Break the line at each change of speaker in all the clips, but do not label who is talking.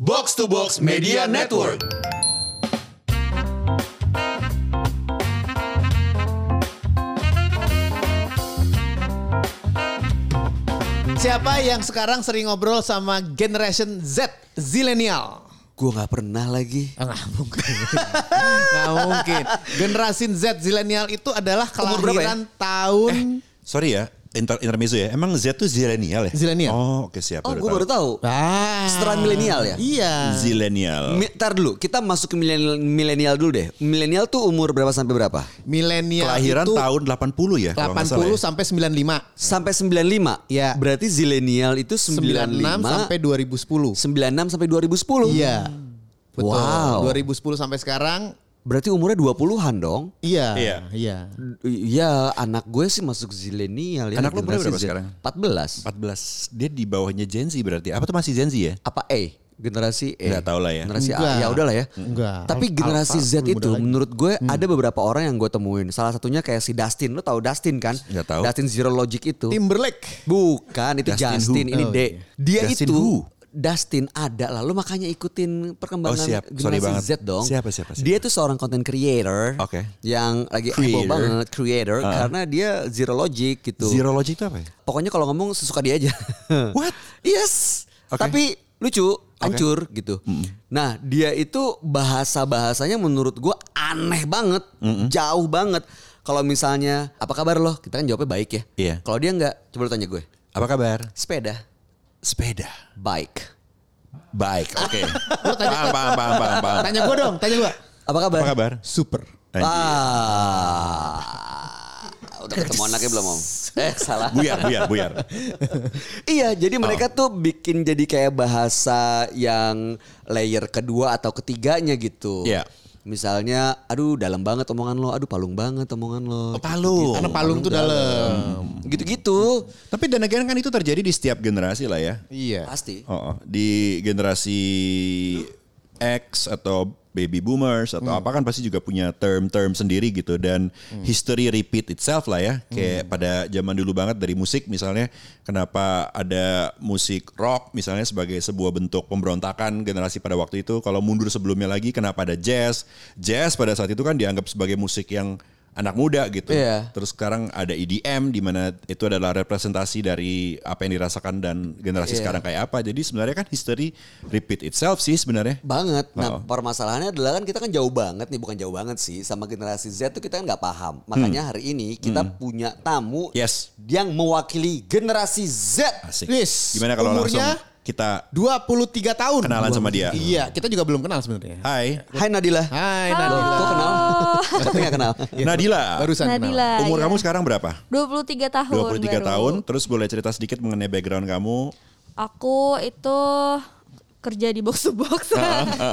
Box to Box Media Network.
Siapa yang sekarang sering ngobrol sama Generation Z, Zilenial?
Gue nggak pernah lagi.
Ah, Nggak mungkin. Nggak mungkin. Generasi Z, Zilenial itu adalah
Umur berapa ya?
kelahiran tahun...
Sorry ya, inter intermezzo ya. Emang Z tuh zilenial ya?
Zilenial.
Oh, oke siap.
Oh, gue baru tahu.
Eh,
Ah.
Seteran milenial ya?
Iya.
Zilenial.
Mi- Ntar dulu, kita masuk ke milenial, milenial dulu deh. Milenial tuh umur berapa sampai berapa?
Milenial
Kelahiran
itu
tahun 80 ya? kalau nggak salah
80
ya?
sampai 95.
Sampai 95.
Iya.
Berarti zilenial itu 95
96 sampai 2010.
Hmm.
96 sampai 2010.
Iya. Betul.
Wow.
2010 sampai sekarang.
Berarti umurnya 20-an dong.
Iya.
Iya.
Iya.
Iya, anak gue sih masuk zilenial ya.
Anak lo umurnya
generasi
berapa
Z.
sekarang?
14.
14. Dia di bawahnya Gen Z berarti. Apa tuh masih Gen Z ya?
Apa E? Generasi E.
Nggak tahu lah ya.
Generasi
Nggak.
A. Ya udahlah ya.
Nggak.
Tapi
Alpha
generasi Z
belum ada
itu
lagi.
menurut gue ada beberapa orang yang gue temuin. Salah satunya kayak si Dustin. Lo tahu Dustin kan?
Nggak tahu.
Dustin Zero Logic itu.
Timberlake.
Bukan itu
Dustin
Justin,
who?
ini
Oh,
D.
iya.
Dia
Dustin
itu
who?
Dustin ada lah. Lo makanya ikutin perkembangan
Oh, siap. Sorry
generasi
banget.
Z dong.
Siapa, siapa, siapa?
Dia itu seorang content creator.
Oke.
Yang lagi
Creator. Ah.
heboh banget creator karena dia zero logic gitu.
Zirologi itu apa ya?
Pokoknya kalau ngomong sesuka dia aja.
What?
Yes.
Oke.
Tapi lucu, hancur gitu. Nah, dia itu bahasa-bahasanya menurut gua aneh banget, jauh banget. Kalau misalnya, apa kabar lo? Kita kan jawabnya baik ya.
Iya.
Kalau dia nggak, coba lo tanya gue.
Apa kabar?
Sepeda,
Sepeda.
bike.
Baik, oke. paham, paham, paham, paham, paham.
Tanya gue dong, tanya gue.
Apa kabar?
Apa kabar? Eh,
Super.
Anjir.
Ah. Udah ketemu anaknya belum, Om? Eh, salah.
Buyar, buyar, buyar.
Iya, jadi mereka
Oh.
tuh bikin jadi kayak bahasa yang layer kedua atau ketiganya gitu.
Iya.
Misalnya, aduh dalam banget omongan lo, aduh palung banget omongan lo.
Oh, palung.
Karena palung tuh dalam.
Gitu-gitu.
Tapi dan again kan itu terjadi di setiap generasi lah ya.
Iya.
Pasti.
Oh, oh. di generasi X atau baby boomers atau apa kan pasti juga punya term-term sendiri gitu dan history repeat itself lah ya kayak pada zaman dulu banget dari musik misalnya kenapa ada musik rock misalnya sebagai sebuah bentuk pemberontakan generasi pada waktu itu kalau mundur sebelumnya lagi kenapa ada jazz jazz pada saat itu kan dianggap sebagai musik yang anak muda gitu
Iya.
terus sekarang ada EDM di mana itu adalah representasi dari apa yang dirasakan dan generasi
Iya.
sekarang kayak apa. Jadi sebenarnya kan history repeat itself sih sebenarnya.
Banget. Nah,
Oh.
permasalahannya adalah kan kita kan jauh banget nih, bukan jauh banget sih. Sama generasi Z tuh kita kan nggak paham. Makanya hari ini kita punya tamu
Hmm. Yes.
yang mewakili generasi Z.
Asik.
Wis,
Gimana kalau
umurnya-
langsung kita
23 tahun.
Kenalan sama dia.
Iya, kita juga belum kenal sebenarnya.
Hai
Hai Nadila.
Hai,
Lo,
Nadila.
kok kenal? Tapi nggak kenal.
Iya,
Nadila.
Barusan
Nadila.
umur
iya.
kamu sekarang berapa?
23 tahun
23
baru.
tahun. Terus boleh cerita sedikit mengenai background kamu.
Aku itu kerja di box to box.
Ah,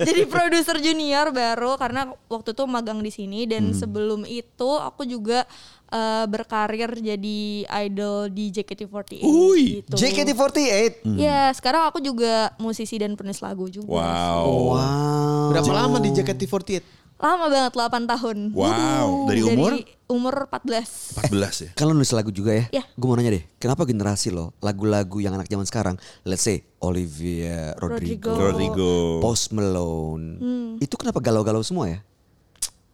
Jadi produser junior baru karena waktu itu magang di sini
Hmm.
dan sebelum itu aku juga eh, berkarir jadi idol di JKT48
Ui,
gitu.
JKT48.
Hmm.
Ya, sekarang aku juga musisi dan penulis lagu juga.
Wow.
Wow.
Berapa lama di JKT48?
Lama banget 8 tahun.
Wow. Dari umur?
umur 14.
14 ya.
Kalau nulis lagu juga ya,
Iya.
gue mau nanya deh, kenapa generasi lo lagu-lagu yang anak zaman sekarang, let's say Olivia Rodrigo,
Rodrigo.
Post Malone, itu kenapa galau-galau semua ya?
Hmm.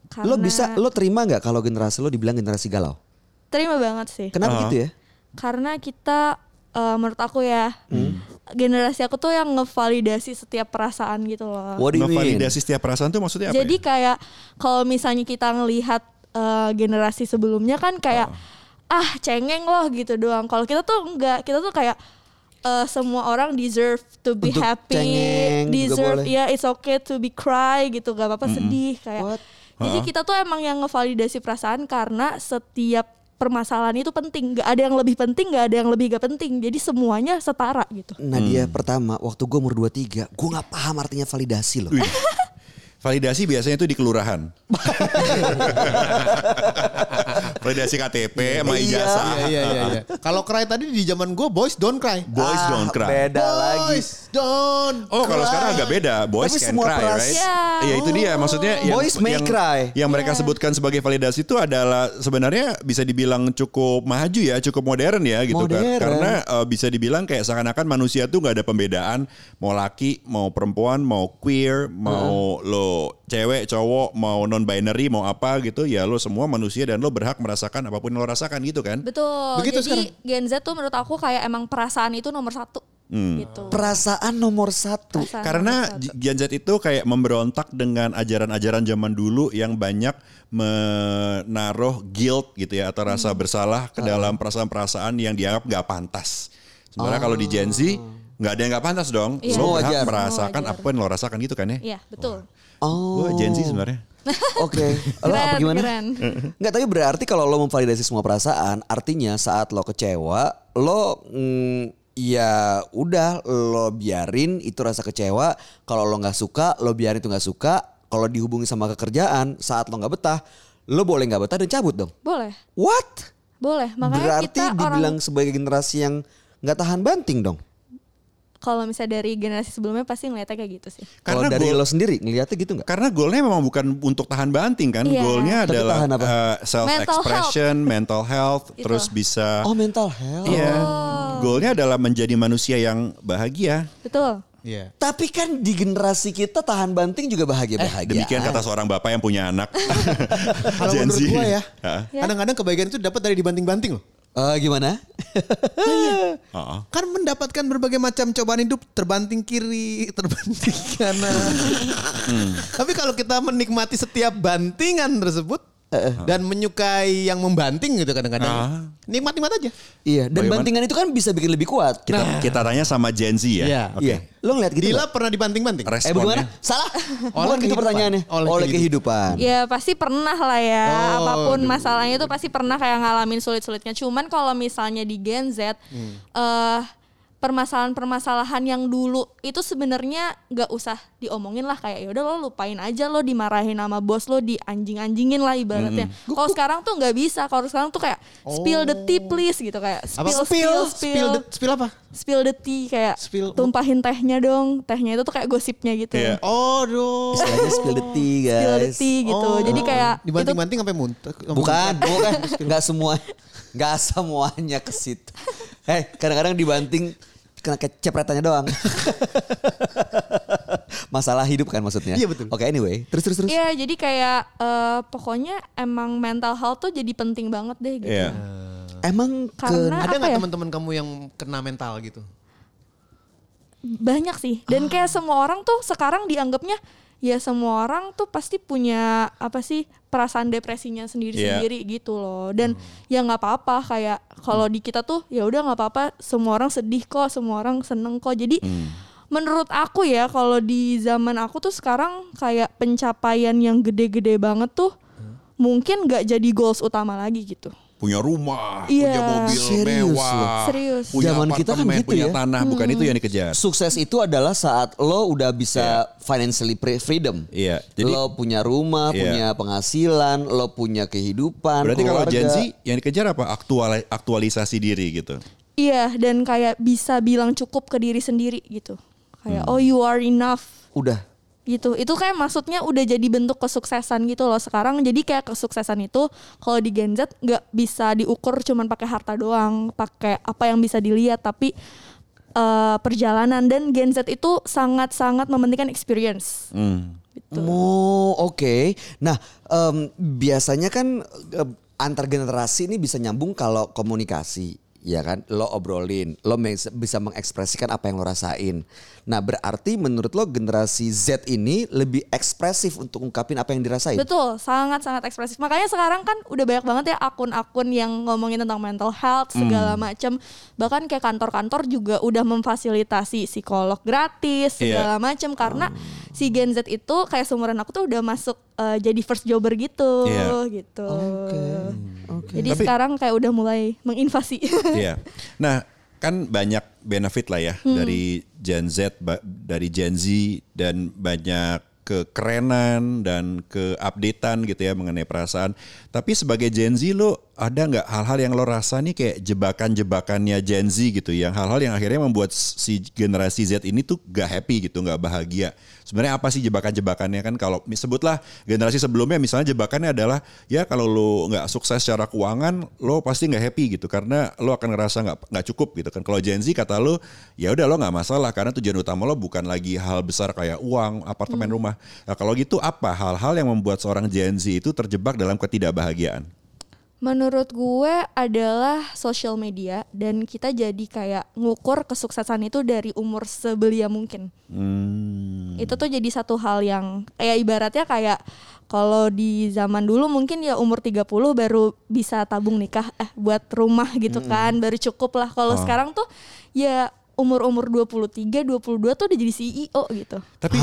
Karena
Lo bisa, lo terima nggak kalau generasi lo dibilang generasi galau?
terima banget sih.
Uh-huh.
Kenapa gitu ya?
Uh-huh. karena kita eh, menurut aku ya generasi aku tuh yang ngevalidasi setiap perasaan gitu loh.
What do you mean?
Ngevalidasi setiap perasaan tuh maksudnya apa?
Jadi
ya?
kayak kalau misalnya kita ngelihat eh, generasi sebelumnya kan kayak
Oh.
ah cengeng loh gitu doang. Kalau kita tuh enggak, kita tuh kayak eh, semua orang deserve to be
Untuk
happy,
cengeng juga
deserve
boleh.
ya it's okay to be cry gitu, gak apa-apa sedih kayak.
What?
Jadi kita tuh emang yang ngevalidasi perasaan karena setiap permasalahan itu penting. Gak ada yang lebih penting, gak ada yang lebih gak penting. Jadi semuanya setara gitu.
Hmm.
Nadia pertama, waktu gue umur 23, gue nggak paham artinya validasi lo.
Wih. Validasi biasanya itu di kelurahan. validasi KTP sama
Iya.
ijazah.
Iya iya iya. iya. Kalau cry tadi di zaman gue boys don't cry.
Boys
Ah,
don't cry.
Beda lagi.
Boys don't.
Oh kalau
cry.
sekarang agak beda, boys
Tapi
can
semua
cry,
peras-
right?
Iya.
Iya itu dia, maksudnya yang-
Boys may
yang,
cry.
Yang mereka sebutkan sebagai validasi itu adalah sebenarnya bisa dibilang cukup maju ya, cukup modern ya gitu
Modern.
kan. Karena eh, bisa dibilang kayak seakan-akan manusia tuh nggak ada pembedaan, mau laki, mau perempuan, mau queer, mau lo cewek, cowok, mau non binary, mau apa gitu, ya lo semua manusia dan lo berhak merasakan apapun yang lo rasakan gitu kan.
Betul.
Begitu
Jadi Gen Z tuh menurut aku kayak emang perasaan itu nomor satu.
Hmm.
Gitu.
Perasaan nomor satu.
Perasaan
Karena
nomor satu.
Gen Z itu kayak memberontak dengan ajaran-ajaran zaman dulu yang banyak menaruh guilt gitu ya atau rasa
Hmm.
bersalah ke dalam perasaan-perasaan yang dianggap nggak pantas. Sebenarnya kalau di Gen Z nggak ada yang nggak pantas dong.
Oh. Iya.
Lo
Semua
berhak
wajar.
merasakan
Semua wajar.
apa yang lo rasakan gitu kan ya?
Iya, betul.
Oh.
Gue Gen Z sebenarnya.
Oke. Lo apa
Keren,
gimana?
keren.
Enggak, tapi berarti kalau lo memvalidasi semua perasaan, artinya saat lo kecewa, lo mm, ya udah lo biarin itu rasa kecewa. Kalau lo nggak suka, lo biarin itu nggak suka. Kalau dihubungi sama kekerjaan, saat lo nggak betah, lo boleh nggak betah dan cabut dong.
Boleh.
What?
Boleh. Makanya
berarti
kita orang
dibilang sebagai generasi yang nggak tahan banting dong.
kalau misalnya dari generasi sebelumnya pasti ngeliatnya kayak gitu sih.
Kalau
Karena
dari lo
gua-
sendiri ngeliatnya gitu nggak?
Karena goalnya memang bukan untuk tahan banting kan,
Iya.
goalnya
Tapi
adalah
tahan apa?
eh, self-expression, mental health,
Itu.
terus bisa,
Oh mental health.
iya, goalnya adalah menjadi manusia yang bahagia.
Betul.
Iya.
Tapi kan di generasi kita tahan banting juga bahagia-bahagia.
Eh, Demikian kata seorang bapak yang punya anak.
Kalau
Gen
menurut
Z.
gue ya,
Heeh.
Ya.
kadang-kadang kebahagiaan itu dapat dari dibanting-banting loh.
Eh, gimana?
Oh, iya.
Heeh.
Kan mendapatkan berbagai macam cobaan hidup terbanting kiri, terbanting kanan.
Hmm.
Tapi kalau kita menikmati setiap bantingan tersebut dan menyukai yang membanting gitu
Ah.
kadang-kadang, nikmat-nikmat aja.
Iya, dan
Bagaimana?
bantingan itu kan bisa bikin lebih kuat.
Kita, kita tanya sama Gen Z ya.
Iya.
Oke.
Iya. Lo ngeliat gitu
Dila
nggak?
pernah dibanting-banting?
Responnya.
Eh bagaimana? Salah.
Oleh
Bukan gitu
kehidupan.
pertanyaannya.
Oleh
Oleh, kehidupan.
Ya pasti pernah lah ya.
Oh,
Apapun masalahnya itu pasti pernah kayak ngalamin sulit-sulitnya. Cuman kalau misalnya di Gen Z, eh permasalahan-permasalahan yang dulu itu sebenarnya nggak usah diomongin lah kayak ya udah lo lupain aja lo dimarahin sama bos lo di anjing-anjingin lah ibaratnya. Kalau sekarang tuh nggak bisa. Kalau sekarang tuh kayak spill the tea please gitu kayak
Apa?
spill
Spill,
spill
spill,
spill
the- spill apa?
spill the tea kayak
Spill-
tumpahin tehnya dong. Tehnya itu tuh kayak gosipnya gitu.
Iya.
Oh, aduh.
Istilahnya spill the tea,
Spill the
guys.
tea gitu.
Oh.
Jadi kayak itu
dibanting-banting sampai muntah.
Bukan, bukan. Gak semua, gak semuanya ke situ. Eh, kadang-kadang dibanting kena kecepretannya doang. Masalah hidup kan maksudnya.
Iya, betul.
Oke, anyway. Terus terus terus.
Iya, jadi kayak eh, pokoknya emang mental health tuh jadi penting banget deh gitu.
Iya.
Emang
Karena-
ke
Ada
Apa
nggak
ya?
teman-teman kamu yang kena mental gitu?
Banyak sih. Dan kayak semua orang tuh sekarang dianggapnya ya semua orang tuh pasti punya apa sih perasaan depresinya sendiri-sendiri gitu loh. Dan ya nggak apa-apa kayak kalau di kita tuh ya udah nggak apa-apa, semua orang sedih kok, semua orang seneng kok. Jadi menurut aku ya kalau di zaman aku tuh sekarang kayak pencapaian yang gede-gede banget tuh mungkin nggak jadi goals utama lagi gitu.
Punya rumah,
Iya.
punya mobil
Serius loh.
mewah.
Serius.
Punya
Zaman kita kan
apartemen,
gitu
punya
ya.
tanah, bukan itu yang dikejar.
sukses itu adalah saat lo udah bisa financially pre- freedom.
Iya, jadi-
lo punya rumah,
Iya.
punya penghasilan, lo punya kehidupan.
Berarti kalau
keluarga.
Gen Z yang dikejar apa? Aktual, aktualisasi diri gitu.
Iya, dan kayak bisa bilang cukup ke diri sendiri gitu. Kayak oh you are enough
udah
gitu. Itu kayak maksudnya udah jadi bentuk kesuksesan gitu loh sekarang. Jadi kayak kesuksesan itu kalau di Gen Z nggak bisa diukur cuman pakai harta doang, pakai apa yang bisa dilihat, tapi eh, perjalanan dan Gen Z itu sangat-sangat mementingkan experience. Gitu.
Hmm.
Oh, oke. Nah, em, biasanya kan em, antar generasi ini bisa nyambung kalau komunikasi, ya kan? Lo obrolin, lo me- bisa mengekspresikan apa yang lo rasain. Nah, berarti menurut lo generasi Z ini lebih ekspresif untuk ungkapin apa yang dirasain.
Betul, sangat-sangat ekspresif. Makanya sekarang kan udah banyak banget ya akun-akun yang ngomongin tentang mental health
Hmm.
segala macam. Bahkan kayak kantor-kantor juga udah memfasilitasi psikolog
Iya.
gratis
Hmm.
segala macam karena si Gen Z itu kayak seumuran aku tuh udah masuk eh, jadi first jobber gitu
Iya.
gitu. Jadi sekarang kayak udah mulai menginvasi.
Iya. Nah, kan banyak benefit lah ya dari Gen Z, ba- dari Gen Z dan banyak kekerenan dan keupdatean gitu ya mengenai perasaan. Tapi sebagai Gen Z lo ada nggak hal-hal yang lo rasa nih kayak jebakan-jebakannya Gen Z gitu, yang hal-hal yang akhirnya membuat si generasi Z ini tuh gak happy gitu, nggak bahagia. Sebenarnya apa sih jebakan-jebakannya kan kalau sebutlah generasi sebelumnya misalnya jebakannya adalah ya kalau lo nggak sukses secara keuangan, lo pasti nggak happy gitu karena lo akan ngerasa nggak nggak cukup gitu kan. Kalau Gen Z kata lo ya udah lo nggak masalah karena tujuan utama lo bukan lagi hal besar kayak uang, apartemen, rumah. Nah, kalau gitu apa hal-hal yang membuat seorang Gen Z itu terjebak dalam ketidakbahagiaan?
Menurut gue adalah social media dan kita jadi kayak ngukur kesuksesan itu dari umur sebelia mungkin. Itu tuh jadi satu hal yang kayak ibaratnya kayak kalau di zaman dulu mungkin ya umur 30 baru bisa tabung nikah eh buat rumah gitu kan, baru cukup lah. Kalau sekarang tuh ya umur-umur 23, 22 tuh udah jadi CEO gitu.
Tapi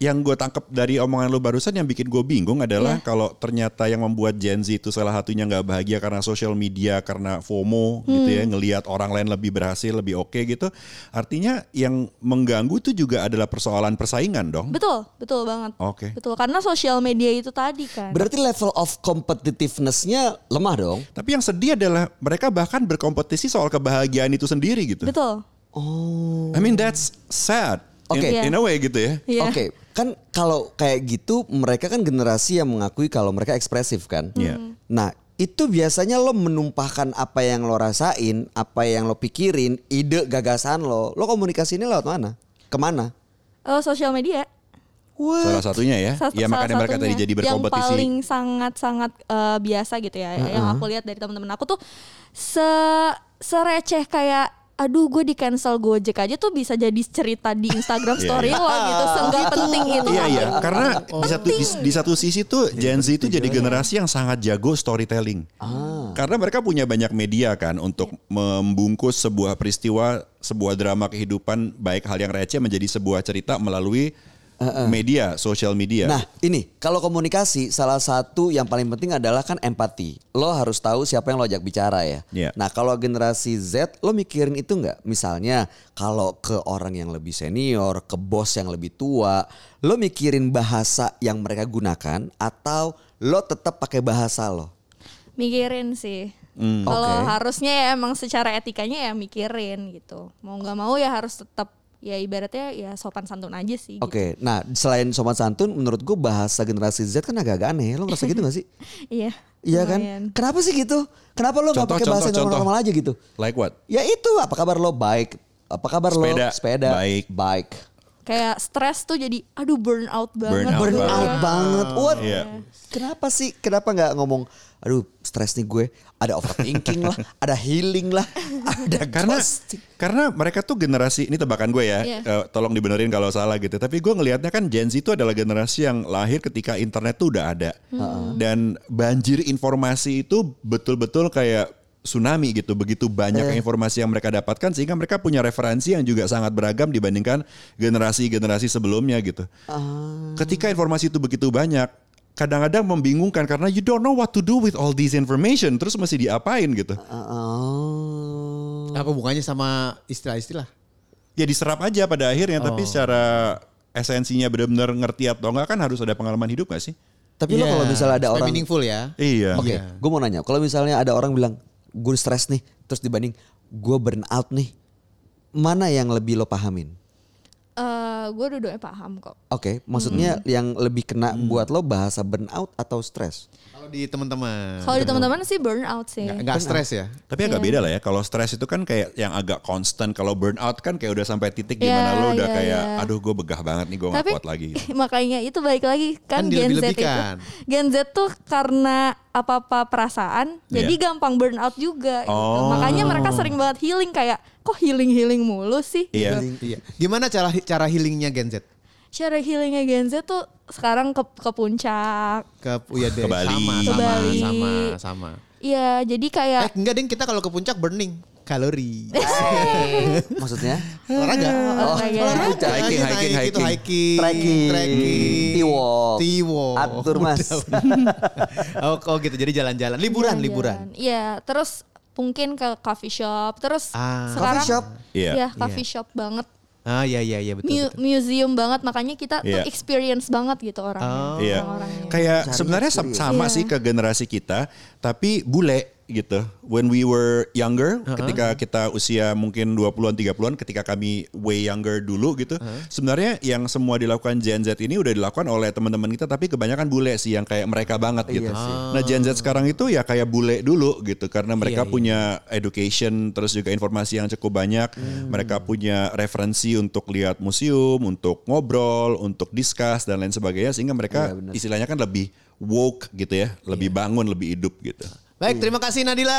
yang gue tangkep dari omongan lu barusan yang bikin gue bingung adalah
Iya.
kalau ternyata yang membuat Gen Z itu salah satunya nggak bahagia karena sosial media, karena FOMO gitu ya,
Hmm.
ngelihat orang lain lebih berhasil, lebih oke gitu. Artinya yang mengganggu itu juga adalah persoalan persaingan dong.
Betul, betul banget.
Oke.
Betul karena sosial media itu tadi kan.
Berarti level of competitiveness-nya lemah dong.
Tapi yang sedih adalah mereka bahkan berkompetisi soal kebahagiaan itu sendiri gitu.
betul.
Oh.
I mean that's sad.
Oke.
In- In, a way gitu ya.
Iya.
Oke, kan kalau kayak gitu mereka kan generasi yang mengakui kalau mereka ekspresif kan.
Iya. Hmm.
Nah, itu biasanya lo menumpahkan apa yang lo rasain, apa yang lo pikirin, ide gagasan lo. Lo komunikasinya lewat mana? Kemana?
Eh, sosial media.
Salah satunya ya.
Sa-
ya
salah
makanya mereka
satunya.
tadi jadi berkompetisi.
Yang paling sangat-sangat eh, biasa gitu ya. Yang aku lihat dari teman-teman aku tuh se sereceh kayak aduh gue di cancel Gojek aja tuh bisa jadi cerita di Instagram
Iya,
story lo gitu. Seenggak penting itu.
Iya iya, karena di satu di, di satu sisi tuh Gen Z itu jadi generasi yang sangat jago storytelling.
Ah.
Karena mereka punya banyak media kan untuk
Iya.
membungkus sebuah peristiwa, sebuah drama kehidupan baik hal yang receh menjadi sebuah cerita melalui media, sosial media.
Nah, ini kalau komunikasi salah satu yang paling penting adalah kan empati. Lo harus tahu siapa yang lo ajak bicara ya.
Iya.
Nah, kalau generasi Z lo mikirin itu nggak? Misalnya kalau ke orang yang lebih senior, ke bos yang lebih tua, lo mikirin bahasa yang mereka gunakan atau lo tetap pakai bahasa lo?
Mikirin sih.
Mm,
Kalau
Oke.
harusnya ya emang secara etikanya ya mikirin gitu. Mau nggak mau ya harus tetap ya ibaratnya ya sopan santun aja sih. gitu.
Oke, nah selain sopan santun, menurut gue bahasa generasi Z kan agak-agak aneh. Lo ngerasa gitu gak sih?
Iya.
Iya kan?
lumayan.
Kenapa sih gitu? Kenapa lo nggak
Contoh,
pakai bahasa
contoh, contoh.
normal aja gitu?
Like what?
Ya itu apa kabar lo baik? Apa kabar
Sepeda.
lo sepeda?
Baik.
Baik.
Kayak stres tuh jadi aduh burn out banget.
Burnout
Burn
banget.
Burnout banget. What?
Iya.
Kenapa sih? Kenapa nggak ngomong? Aduh, stres nih gue. Ada overthinking lah, ada healing lah, ada
karena
ghosting.
karena mereka tuh generasi ini tebakan gue ya
Iya.
eh, tolong dibenerin kalau salah gitu tapi gue ngelihatnya kan Gen Z itu adalah generasi yang lahir ketika internet tuh udah ada dan banjir informasi itu betul-betul kayak tsunami gitu begitu banyak informasi yang mereka dapatkan sehingga mereka punya referensi yang juga sangat beragam dibandingkan generasi-generasi sebelumnya gitu ketika informasi itu begitu banyak kadang-kadang membingungkan karena you don't know what to do with all this information terus mesti diapain gitu
Ah. Oh.
Apa hubungannya sama istilah-istilah?
ya diserap aja pada akhirnya tapi secara esensinya benar-benar ngerti atau enggak kan harus ada pengalaman hidup gak sih?
Tapi lo
Iya,
kalau misalnya ada
supaya
orang, oke,
meaningful ya.
Iya.
gue mau nanya, kalau misalnya ada orang bilang gue stres nih, terus dibanding gue burn out nih, mana yang lebih lo pahamin?
gue duduknya Eh, paham kok.
Oke, maksudnya
Hmm.
yang lebih kena buat lo bahasa burnout atau stres?
Kalau di
Nah,
teman-teman.
Kalau di teman-teman sih burn out sih.
Nggak- nggak stres ya.
Tapi
Iya.
agak beda lah ya. Kalau stres itu kan kayak yang agak constant. Kalau burnout kan kayak udah sampai titik di
Iya,
mana lo udah
iya,
kayak
iya.
aduh gue begah banget nih gue gak
Tapi
kuat lagi. gitu.
makanya itu balik lagi kan,
Kan
Gen Z itu.
dilebih-lebihkan.
Gen Z tuh karena apa-apa perasaan
Iya.
jadi gampang burn out juga. gitu.
Oh.
Makanya mereka sering banget healing kayak kok healing-healing mulu sih.
Iya.
Gitu.
Iya. Gimana cara cara healingnya Gen Z?
Cara healingnya Gen Z tuh sekarang ke, ke puncak.
Ke ya deh,
Ke Bali.
sama,
Ke
sama,
Bali.
sama, sama.
Iya, jadi kayak
Eh, enggak ding kita kalau ke puncak burning kalori.
Maksudnya? Oh,
olahraga
Olahraga.
olahraga
Oh, Hiking,
naik
hiking,
gitu,
hiking.
hiking
Trekking.
trekking
T-walk.
T-walk.
Atur, Mas.
Udah. oh, oh gitu jadi jalan-jalan liburan liburan
Jalan-jalan. Iya, terus mungkin ke coffee shop, terus
Ah.
sekarang
Coffee shop?
Iya.
Iya, coffee shop banget.
ah iya iya iya betul,
Mu-
betul.
museum banget makanya kita
Iya.
tuh experience banget gitu
Oh,
orangnya.
Iya.
Orang-orangnya.
Kayak sebenarnya sam- sama
Iya.
sih ke generasi kita, tapi bule gitu. When we were younger, ketika kita usia mungkin 20-an 30-an ketika kami way younger dulu gitu. Sebenarnya yang semua dilakukan Gen Z ini udah dilakukan oleh teman-teman kita tapi kebanyakan bule sih yang kayak mereka banget gitu.
sih.
Nah, Gen Z sekarang itu ya kayak bule dulu gitu karena mereka punya education terus juga informasi yang cukup banyak. Mereka punya referensi untuk lihat museum, untuk ngobrol, untuk discuss dan lain sebagainya sehingga mereka istilahnya kan lebih woke gitu ya, lebih bangun, lebih hidup gitu.
Baik, terima kasih Nadila.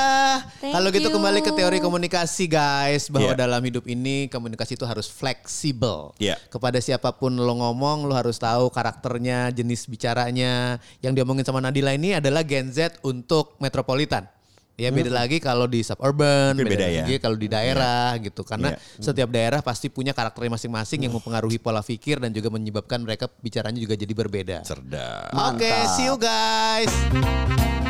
Thank
Kalau gitu
you.
kembali ke teori komunikasi guys bahwa
Iya.
dalam hidup ini komunikasi itu harus fleksibel.
Iya.
Kepada siapapun lo ngomong, lo harus tahu karakternya, jenis bicaranya. Yang diomongin sama Nadila ini adalah Gen Z untuk metropolitan. Ya beda lagi kalau di suburban,
Hmm. Mungkin
beda,
beda ya.
lagi kalau di daerah gitu. Karena
Iya. Hmm.
setiap daerah pasti punya karakternya masing-masing yang mempengaruhi pola pikir dan juga menyebabkan mereka bicaranya juga jadi berbeda.
cerdas.
Oke, see you guys.